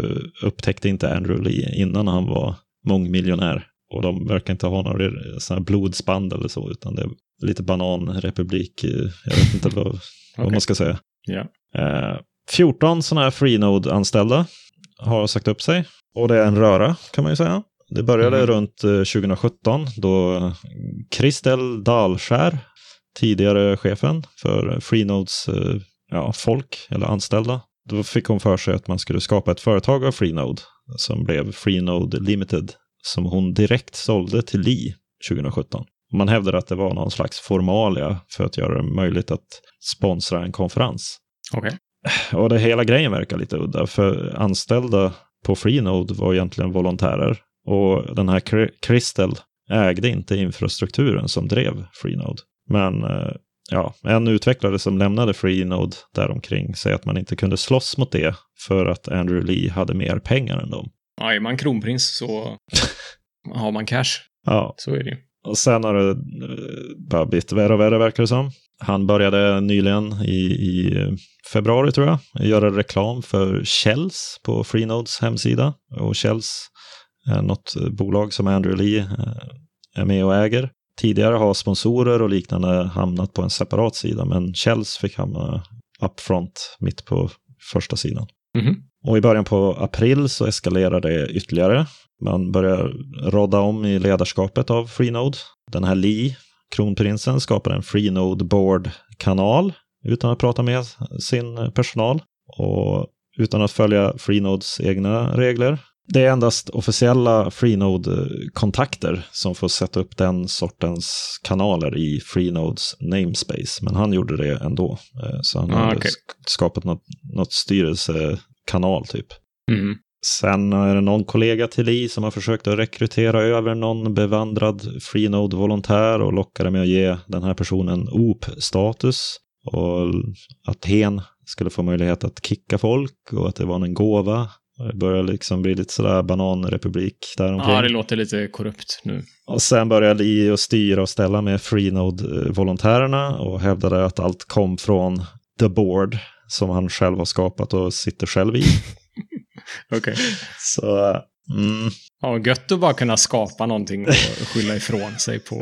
S2: upptäckte inte Andrew Lee innan han var mångmiljonär. Och de verkar inte ha några eh, såna här blodsband eller så, utan det är lite bananrepublik. eh, Jag vet inte vad, vad
S1: Okej.
S2: man ska säga.
S1: Ja.
S2: Eh, 14 sådana här Freenode-anställda har sagt upp sig. Och det är en röra kan man ju säga. Det började
S1: Mhm.
S2: runt eh, 2017 då eh, Christel Dahlskär, tidigare chefen för Freenodes eh, ja, folk eller anställda, då fick hon för sig att man skulle skapa ett företag av Freenode som blev Freenode Limited som hon direkt sålde till Li 2017. Man hävdar att det var någon slags formalia för att göra det möjligt att sponsra en konferens.
S1: Okej.
S2: Och det hela grejen verkar lite udda, för anställda på Freenode var egentligen volontärer. Och den här Kri- Crystal ägde inte infrastrukturen som drev Freenode. Men eh, ja, en utvecklare som lämnade Freenode däromkring säger att man inte kunde slåss mot det för att Andrew Lee hade mer pengar än dem.
S1: Ja, är man kronprins så har man cash.
S2: Ja,
S1: Så är det ju.
S2: Och sen har det eh, bara blivit värre och värre verkar det som. Han började nyligen i, i februari tror jag göra reklam för Shells på Freenodes hemsida. Och Shells är något bolag som Andrew Lee eh, är med och äger. Tidigare har sponsorer och liknande hamnat på en separat sida, men Kjells fick hamna upfront mitt på första sidan.
S1: Mhm.
S2: Och i början på april så eskalerar det ytterligare. Man börjar rodda om i ledarskapet av Freenode. Den här Lee, kronprinsen, skapar en Freenode Board-kanal utan att prata med sin personal och utan att följa Freenodes egna regler. Det är endast officiella Freenode-kontakter som får sätta upp den sortens kanaler i Freenodes namespace. Men han gjorde det ändå. Eh, Så han
S1: Ah,
S2: har
S1: okej.
S2: sk- skapat något, något styrelsekanal typ.
S1: Mm.
S2: Sen är det någon kollega till Li som har försökt att rekrytera över någon bevandrad Freenode-volontär och lockade med att ge den här personen OP-status. Och att hen skulle få möjlighet att kicka folk och att det var en gåva. Och Det börjar liksom bli lite sådär bananrepublik däromkring.
S1: Ja, det låter lite korrupt nu.
S2: Och sen började Li att styra och ställa med Freenode-volontärerna och hävdade att allt kom från The Board som han själv har skapat och sitter
S1: <laughs>
S2: själv i.
S1: Okej.
S2: Så, mm.
S1: Ja, gött att bara kunna skapa någonting och skylla ifrån sig på.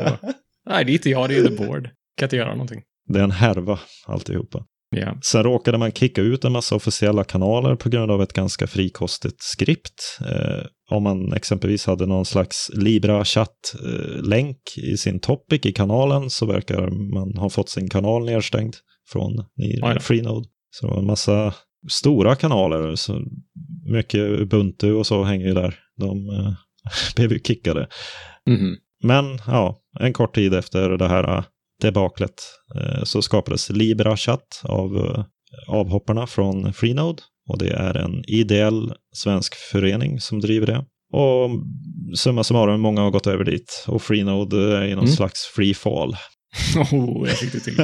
S1: Nej, det är inte jag, det är the board. Kan inte göra någonting.
S2: Det är en härva alltihopa.
S1: Ja.
S2: Sen råkade man kicka ut en massa officiella kanaler på grund av ett ganska frikostigt skript. Eh, om man exempelvis hade någon slags Libra-chatt-länk i sin topic i kanalen så verkar man ha fått sin kanal nedstängd från i
S1: Oj då.
S2: Freenode. Så det var en massa stora kanaler. Så mycket Ubuntu och så hänger ju där. De eh, <laughs> blev ju kickade.
S1: Mhm.
S2: Men ja, en kort tid efter det här eh, debaklet eh, så skapades Libra Chat av eh, avhopparna från Freenode. Och det är en ideell svensk förening som driver det. Och summa summarum, många har gått över dit. Och Freenode är i någon
S1: Mm.
S2: slags free fall.
S1: <laughs> Oh, jag fick det till.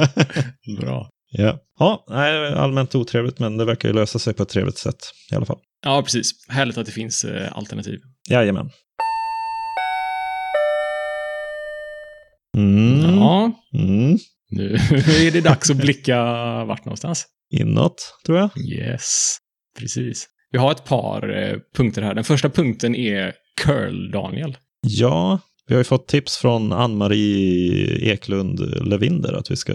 S1: Bra.
S2: ja, ja nej, allmänt otrevligt, men det verkar ju lösa sig på ett trevligt sätt i alla fall.
S1: Ja, precis. Härligt att det finns eh, alternativ.
S2: Jajamän. Mm.
S1: Ja,
S2: Mm.
S1: nu <laughs> är det dags att blicka vart någonstans.
S2: Inåt, tror jag.
S1: Yes, precis. Vi har ett par eh, punkter här. Den första punkten är curl, Daniel.
S2: Ja, vi har ju fått tips från Ann-Marie Eklund Levinder att vi ska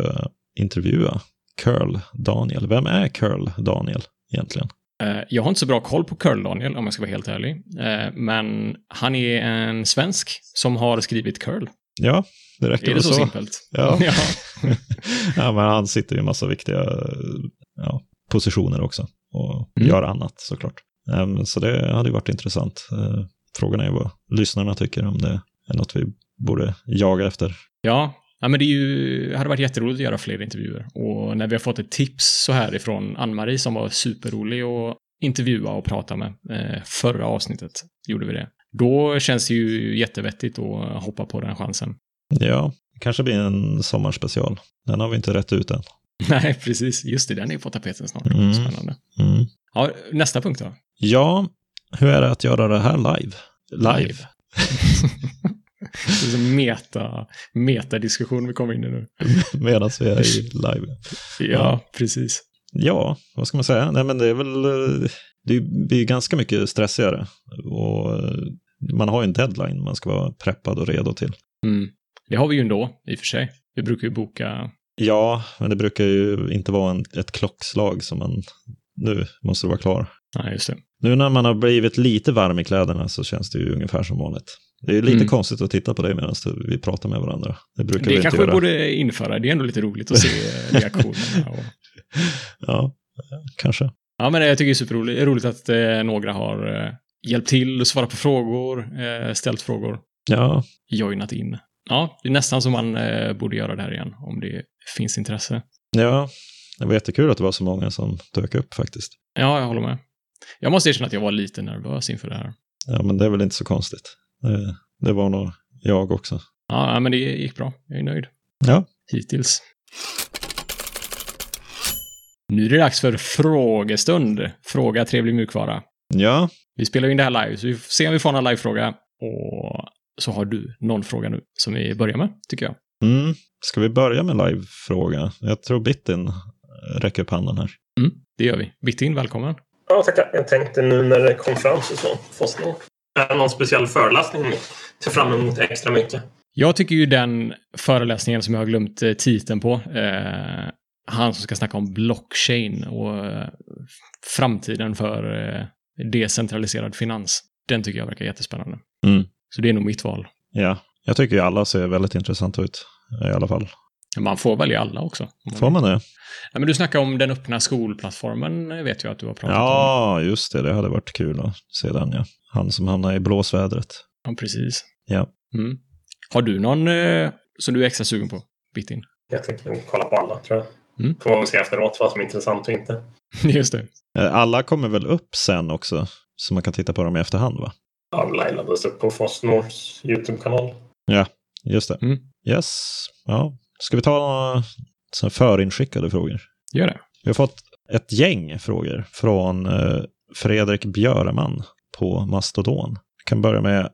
S2: intervjua Curl Daniel. Vem är Curl Daniel egentligen?
S1: Eh, Jag har inte så bra koll på curl, Daniel, om jag ska vara helt ärlig. Eh, Men han är en svensk som har skrivit curl.
S2: Ja, det räcker
S1: Är det
S2: väl
S1: så, simpelt?
S2: Ja.
S1: <laughs> ja.
S2: <laughs> ja, men han sitter ju i en massa viktiga ja, positioner också och
S1: Mm.
S2: gör annat såklart. Ehm, Så det hade ju varit intressant. Eh, Frågan är ju vad lyssnarna tycker om det är något vi borde jaga efter.
S1: Ja, ja men det är ju, hade varit jätteroligt att göra fler intervjuer. Och när vi har fått ett tips så här ifrån Ann-Marie som var superrolig att intervjua och prata med. Eh, förra avsnittet gjorde vi det. Då känns det ju jättevettigt att hoppa på den chansen. <laughs>
S2: Ja, kanske blir en sommarspecial. Den har vi inte rätt ut än.
S1: Nej, precis. Just det, den är på tapeten snart.
S2: Mm.
S1: Spännande.
S2: Mm.
S1: Ja, nästa punkt då.
S2: Ja, hur är det att göra det här live? Live?
S1: Det är en meta, metadiskussion vi kommer in i nu.
S2: <laughs> Medan vi är i live.
S1: Ja, precis.
S2: Ja, vad ska man säga? Nej, men det är väl... eh, Det blir ju ganska mycket stressigare. Och eh, man har ju en deadline man ska vara preppad och redo till.
S1: Mm. Det har vi ju ändå, i och för sig. Vi brukar ju boka...
S2: Ja, men det brukar ju inte vara en, ett klockslag som man... Nu måste du vara klar.
S1: Nej, just det.
S2: Nu när man har blivit lite varm i kläderna så känns det ju ungefär som vanligt. Det är ju lite
S1: Mm.
S2: konstigt att titta på dig medan du- vi pratar med varandra. Det brukar vi
S1: Det
S2: inte
S1: kanske vi
S2: göra.
S1: borde införa. Det är ändå lite roligt <laughs> att se reaktionerna. Och...
S2: <laughs> Ja, kanske.
S1: Ja, men jag tycker det är superroligt. Det är roligt att eh, några har eh, hjälpt till och svarat på frågor, eh, ställt frågor,
S2: Ja,
S1: joinat in. Ja, det är nästan som man eh, borde göra det här igen, om det finns intresse.
S2: Ja, det var jättekul att det var så många som dök upp faktiskt.
S1: Ja, jag håller med. Jag måste erkänna att jag var lite nervös inför det här.
S2: Ja, men det är väl inte så konstigt. Det, det var nog jag också.
S1: Ja, ja, men det gick bra. Jag är nöjd.
S2: Ja.
S1: Hittills. Nu är det dags för frågestund. Fråga trevlig mjukvara.
S2: Ja,
S1: Vi spelar ju in det här live, så vi får se om vi får någon livefråga. Och så har du någon fråga nu som vi börjar med, tycker jag.
S2: mm. ska vi börja med livefråga? Jag tror Bittin räcker upp handen här.
S1: Mm, det gör vi. Bittin, välkommen.
S3: Ja, tackar. Jag tänkte nu när det kom fram så, så forskning. Är det någon speciell föreläsning ni ser fram emot extra mycket?
S1: Jag tycker ju den föreläsningen som jag har glömt eh, titeln på, eh, han som ska snacka om blockchain och eh, framtiden för eh, decentraliserad finans, den tycker jag verkar jättespännande.
S2: Mm.
S1: Så det är nog mitt val.
S2: Ja, jag tycker ju alla ser väldigt intressanta ut i alla fall.
S1: Man får välja alla också. om
S2: Får man det?
S1: Ja, men du snackade om den öppna skolplattformen, eh, vet jag att du har pratat om.
S2: Ja, just det. Det hade varit kul att se den. Ja. Han som hamnar i blåsvädret.
S1: Ja, precis.
S2: Ja.
S1: Mm. Har du någon eh, som du är extra sugen på, Bittin? <laughs>
S3: Jag tänker nog kolla på alla, tror jag.
S1: Mm.
S3: Får man väl se efteråt vad som är intressant och inte.
S1: Just det.
S2: Eh, Alla kommer väl upp sen också, så man kan titta på dem i efterhand va?
S3: Ja, Laila lades upp på Fosnors YouTube-kanal.
S2: Just det.
S1: Mm.
S2: Yes. Ja. Ska vi ta några såna förinskickade frågor?
S1: Gör det.
S2: Vi har fått ett gäng frågor från eh, Fredrik Björman på Mastodon. Jag kan börja med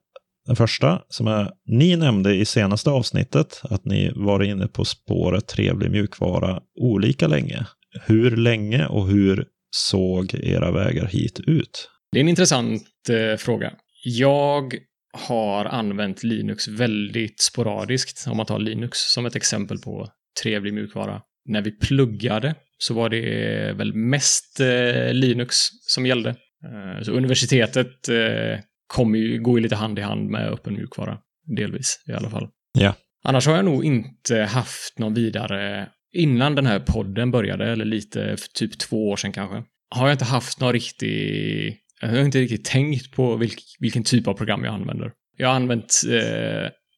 S2: den första som är, ni nämnde i senaste avsnittet att ni var inne på spåret trevlig mjukvara olika länge. Hur länge och hur såg era vägar hit ut?
S1: Det är en intressant eh, fråga. Jag har använt Linux väldigt sporadiskt, om man tar Linux som ett exempel på trevlig mjukvara. När vi pluggade så var det väl mest eh, Linux som gällde. Eh, så universitetet eh, kommer ju, går ju lite hand i hand med öppen mjukvara, delvis i alla fall.
S2: Ja.
S1: Annars har jag nog inte haft någon vidare, innan den här podden började, eller lite för typ två år sedan kanske, har jag inte haft någon riktig jag har inte riktigt tänkt på vilk, vilken typ av program jag använder. Jag har använt... Eh,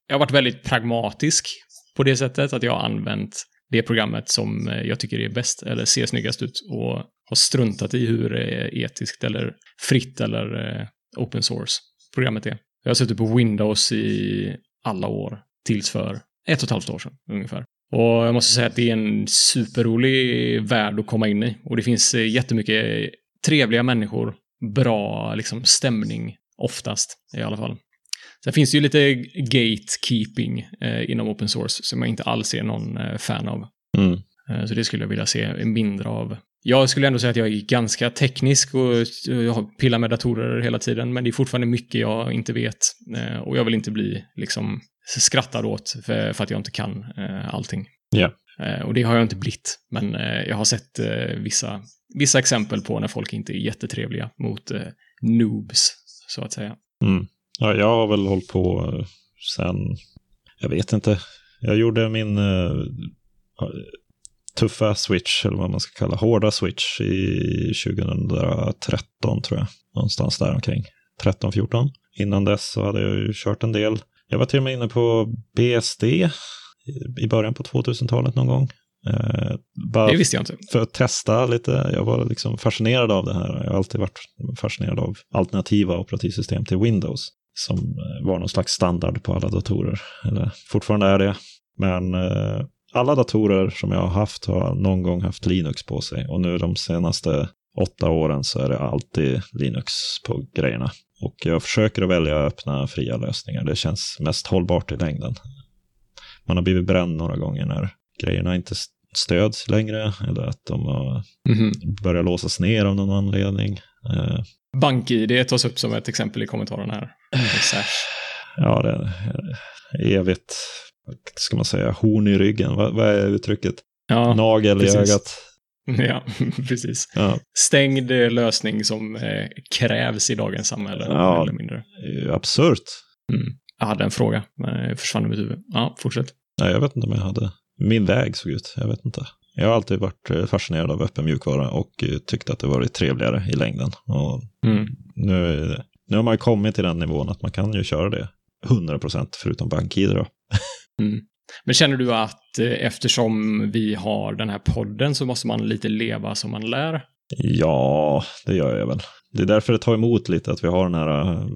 S1: jag har varit väldigt pragmatisk på det sättet att jag har använt det programmet som eh, jag tycker är bäst eller ser snyggast ut och har struntat i hur eh, etiskt eller fritt eller eh, open source programmet är. Jag har suttit på Windows i alla år tills för ett och ett halvt år sedan ungefär. Och jag måste säga att det är en superrolig värld att komma in i och det finns eh, jättemycket trevliga människor bra liksom, stämning oftast i alla fall. Sen finns det ju lite gatekeeping eh, inom open source som jag inte alls är någon eh, fan av.
S2: Mm.
S1: Eh, så det skulle jag vilja se mindre av. Jag skulle ändå säga att jag är ganska teknisk och eh, jag har- pillar med datorer hela tiden, men det är fortfarande mycket jag inte vet. Eh, och jag vill inte bli liksom, skrattad åt för, för att jag inte kan eh, allting.
S2: Ja.
S1: Eh, och det har jag inte blivit, men eh, jag har sett eh, vissa, vissa exempel på när folk inte är jättetrevliga mot eh, noobs, så att säga.
S2: Ja, jag har väl hållit på eh, sen, jag vet inte. Jag gjorde min eh, tuffa switch, eller vad man ska kalla hårda switch, i 2013 tror jag. Någonstans där omkring. 13-14. Innan dess så hade jag ju kört en del. Jag var till och med inne på BSD i- i början på 2000-talet någon gång. Eh, bara
S1: Det visste jag inte.
S2: för att testa lite. Jag var liksom fascinerad av det här. Jag har alltid varit fascinerad av alternativa operativsystem till Windows som eh, var någon slags standard på alla datorer. Eller fortfarande är det. Men eh, alla datorer som jag har haft har någon gång haft Linux på sig och nu de senaste åtta åren så är det alltid Linux på grejerna. Och jag försöker att välja öppna, fria lösningar. Det känns mest hållbart i längden. Man har blivit bränd några gånger när grejerna inte s- stöds längre eller att de har börjat låsas ner av någon anledning. Eh,
S1: BankID tas upp som ett exempel i kommentaren här. Exakt.
S2: Ja, det är evigt, vad ska man säga, horn i ryggen. Vad, vad är uttrycket?
S1: Ja,
S2: Nagel
S1: precis.
S2: i ögat.
S1: <laughs> ja, <laughs> precis.
S2: Ja,
S1: Stängd eh, lösning som eh, krävs i dagens samhälle.
S2: Ja.
S1: mer Eller mindre.
S2: det är ju absurt.
S1: Jag hade en fråga, men det försvann ur mitt huvud. Ja, fortsätt.
S2: Nej, jag vet inte om jag hade. Min väg såg ut, jag vet inte. Jag har alltid varit eh, fascinerad av öppen mjukvara och eh, tyckt att det varit trevligare i längden. Och
S1: Mm.
S2: nu, är det- nu har man kommit till den nivån att man kan ju köra det 100% förutom BankID då.
S1: Men känner du att eh, eftersom vi har den här podden så måste man lite leva som man lär?
S2: Ja, det gör jag väl. Det är därför det tar emot lite att vi har den här eh,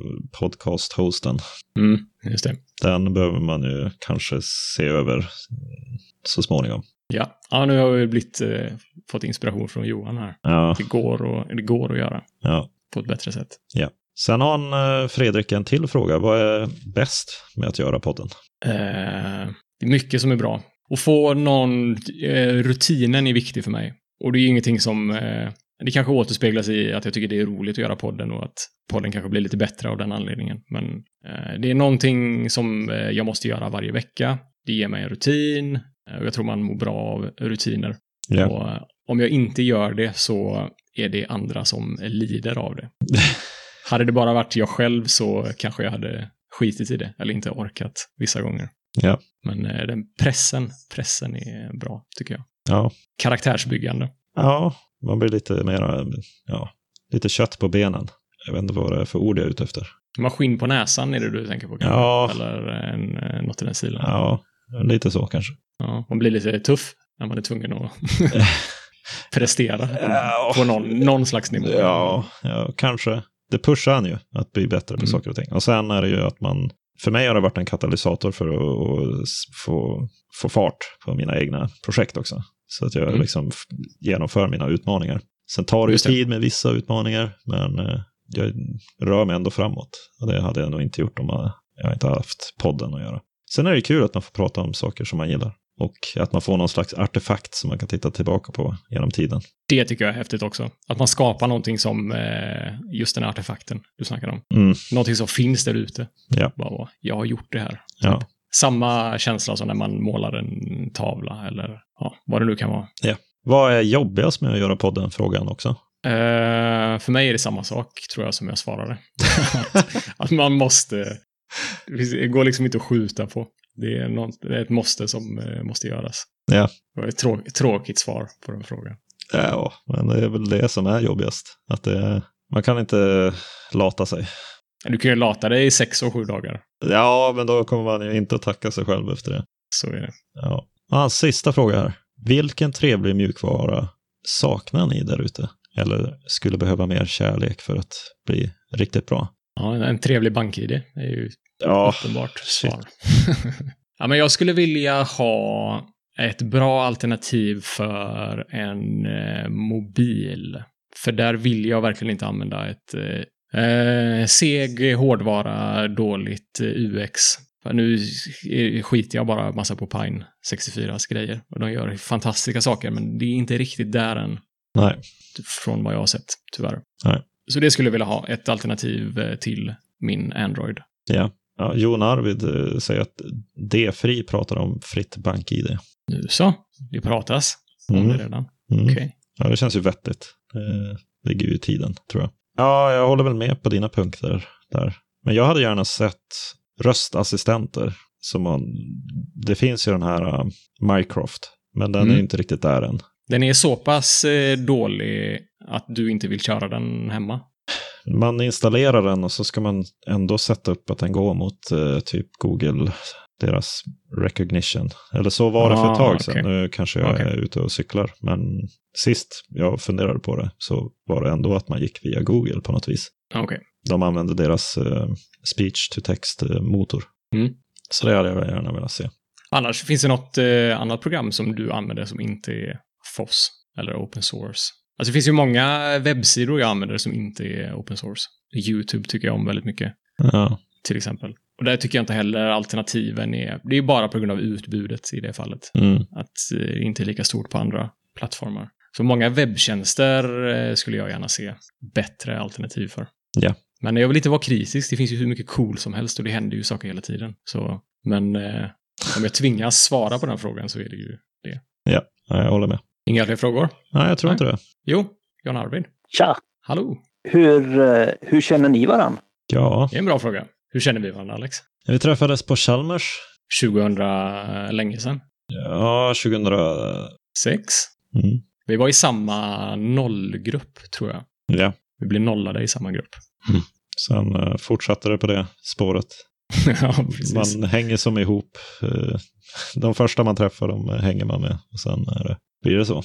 S2: podcast-hosten.
S1: Mm, just det.
S2: Den behöver man ju kanske se över mm, så småningom.
S1: Ja, ja nu har vi blivit, eh, fått inspiration från Johan här.
S2: Ja,
S1: Det går, och, det går att göra
S2: ja.
S1: på ett bättre sätt.
S2: Sen har han, eh, Fredrik en till fråga. Vad är bäst med att göra podden?
S1: Eh, det är mycket som är bra. Och få någon, eh, rutinen är viktig för mig. Och det är ju ingenting som eh, Det kanske återspeglas i att jag tycker det är roligt att göra podden och att podden kanske blir lite bättre av den anledningen. Men eh, det är någonting som eh, jag måste göra varje vecka. Det ger mig en rutin eh, och jag tror man mår bra av rutiner.
S2: Ja.
S1: Och eh, om jag inte gör det så är det andra som lider av
S2: <laughs>
S1: det. hade det bara varit jag själv så kanske jag hade skitit i det eller inte orkat vissa gånger.
S2: Ja.
S1: Men eh, den pressen, pressen är bra tycker jag.
S2: Ja.
S1: Karaktärsbyggande.
S2: ja, man blir lite mera, ja, lite kött på benen. Jag vet inte vad det är för ord jag är ute efter.
S1: Maskin på näsan är det du tänker på kanske?
S2: Ja,
S1: Eller en, eh, något i den stilen. Ja.
S2: ja lite så kanske.
S1: man blir lite tuff när man är tvungen
S2: <laughs>
S1: att prestera
S2: Ja.
S1: på någon, någon slags nivå.
S2: Ja, ja, kanske. Det pushar en ju att bli bättre på
S1: Mm.
S2: saker och ting. Och sen är det ju att man, för mig har det varit en katalysator för att att s- få, få fart på mina egna projekt också. Så att jag
S1: Mm.
S2: liksom f- genomför mina utmaningar. Sen tar det ju
S1: Just det.
S2: tid med vissa utmaningar, men eh, jag rör mig ändå framåt. Och det hade jag nog inte gjort om jag- jag inte haft podden att göra. Sen är det ju kul att man får prata om saker som man gillar. Och att man får någon slags artefakt som man kan titta tillbaka på genom tiden.
S1: Det tycker jag är häftigt också. Att man skapar någonting som eh, just den här artefakten du snackar om.
S2: Mm.
S1: Någonting som finns där ute.
S2: Ja.
S1: Bara, jag har gjort det här.
S2: Ja.
S1: Samma känsla som när man målar en tavla eller ja, vad det nu kan vara.
S2: Vad är jobbigast med att göra podden? Frågan också.
S1: Eh, för mig är det samma sak, tror jag, som jag
S2: <laughs>
S1: svarade. att, att man måste... Det går liksom inte att skjuta på. Det är, något, det är ett måste som eh, måste göras.
S2: Ja.
S1: Det var ett trå- tråkigt svar på den frågan.
S2: Ja, men det är väl det som är jobbigast. Att det, man kan inte lata sig.
S1: Du kan ju lata dig i sex och sju dagar.
S2: Ja, men då kommer man ju inte att tacka sig själv efter det.
S1: Så är det.
S2: Ja. Ah, sista fråga här. Vilken trevlig mjukvara saknar ni där ute? Eller skulle behöva mer kärlek för att bli riktigt bra?
S1: Ja, en- en trevlig bank-id är ju
S2: Ja,
S1: uppenbart
S2: shit.
S1: svar. <laughs> ja, men jag skulle vilja ha ett bra alternativ för en eh, mobil. För där vill jag verkligen inte använda ett eh, eh, seg hårdvara, dåligt eh, UX. För nu eh, skiter jag bara massa på Pine 64s grejer. Och de gör fantastiska saker, men det är inte riktigt där än
S2: nej.
S1: från vad jag har sett, tyvärr.
S2: Nej.
S1: Så det skulle jag vilja ha, ett alternativ eh, till min Android.
S2: Ja, Jon Arvid eh, säger att D-Fri pratar om fritt bank-id.
S1: Nu så, det pratas om
S2: Mm.
S1: det redan.
S2: Mm.
S1: Okej.
S2: Ja, det känns ju vettigt. Det ligger ju i tiden, tror jag. Ja, jag håller väl med på dina punkter där. Men jag hade gärna sett röstassistenter. Som man, det finns ju den här eh, Mycroft, men den är
S1: Mm.
S2: ju inte riktigt där än.
S1: Den är så pass eh, dålig att du inte vill köra den hemma.
S2: Man installerar den och så ska man ändå sätta upp att den går mot eh, typ Google, deras recognition. Eller så var det för ett
S1: Ah,
S2: tag sedan.
S1: okej.
S2: Nu kanske jag
S1: Okej.
S2: är ute och cyklar. Men sist jag funderade på det så var det ändå att man gick via Google på något vis.
S1: Okej.
S2: De använder deras eh, speech-to-text-motor.
S1: Mm.
S2: eh, Så det hade jag gärna velat se.
S1: Annars, finns det något eh, annat program som du använder som inte är FOSS eller open source? Alltså det finns ju många webbsidor jag använder som inte är open source. YouTube tycker jag om väldigt mycket.
S2: Ja,
S1: till exempel. Och där tycker jag inte heller alternativen är... Det är bara på grund av utbudet i det fallet.
S2: mm.
S1: Att eh, det inte är lika stort på andra plattformar. Så många webbtjänster eh, skulle jag gärna se bättre alternativ för.
S2: Ja.
S1: Men jag vill inte vara kritisk. Det finns ju hur mycket cool som helst och det händer ju saker hela tiden. Så, men eh, om jag tvingas svara på den frågan så är det ju...
S2: Ja, jag håller med.
S1: Inga fler frågor?
S2: Nej, jag tror
S1: Nej.
S2: inte det.
S1: Jo, Jan Arvid.
S4: Tja!
S1: Hallå.
S4: Hur, eh, hur känner ni varann?
S2: Ja,
S1: Det är en bra fråga. Hur känner vi varandra, Alex?
S2: vi träffades på Chalmers.
S1: 2000 eh, länge sedan.
S2: Ja, 2000.
S1: Sex?
S2: Mm.
S1: Vi var i samma nollgrupp, tror jag.
S2: Ja,
S1: Vi blev nollade i samma grupp. <laughs>
S2: sen eh, fortsatte det på det spåret.
S1: ja, precis.
S2: Man hänger som ihop. eh, De första man träffar, de eh, hänger man med. Och sen är det, blir det så.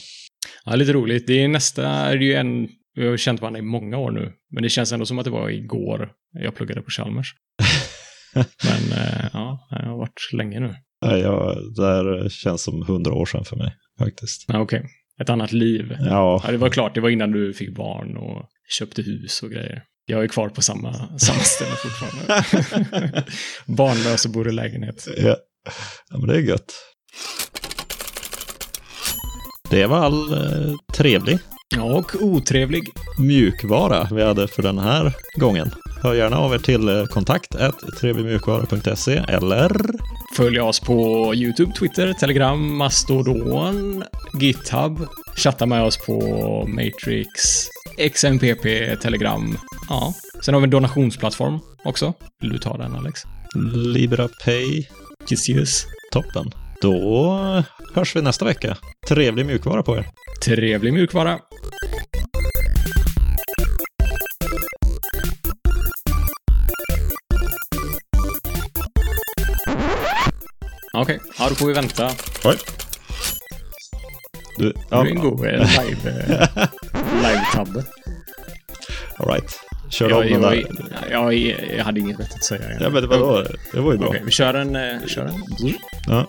S1: Ja, lite roligt. Det är nästa, det är ju en, vi har ju känt varandra i många år nu, men det känns ändå som att det var igår jag pluggade på <laughs> Chalmers. men eh, ja, det har varit länge nu.
S2: Nej, jag, det här känns som hundra år sedan för mig, faktiskt.
S1: Ja, Okej, ett annat liv.
S2: Ja,
S1: Ja, det var klart, det var innan du fick barn och köpte hus och grejer. Jag är kvar på samma, samma ställe <laughs> fortfarande. Barnlös och bor i lägenhet.
S2: <laughs> Ja. ja, men det är gött. Det var all eh, trevlig
S1: Och otrevlig.
S2: mjukvara vi hade för den här gången. Hör gärna av er till eh, kontakt trevligmjukvara.se eller
S1: Följ oss på YouTube, Twitter, Telegram, Mastodon, GitHub. Chatta med oss på Matrix, XMPP, Telegram. Ja. Sen har vi en donationsplattform också. Vill du ta den, Alex?
S2: LibraPay.
S1: Yes, yes.
S2: Toppen. Då hörs vi nästa vecka. Trevlig mjukvara på er.
S1: Trevlig mjukvara. Okej, ja, då får vi vänta.
S2: Oj. Du,
S1: Det
S2: ja,
S1: är en god eh, live, eh, live-tabbe.
S2: all right. Kör om
S1: Jag,
S2: den
S1: jag,
S2: där.
S1: jag, jag, jag hade inget vettigt att säga.
S2: Ja, men det var, det var ju bra.
S1: Okej, vi kör en... eh, Kör en.
S2: Ja.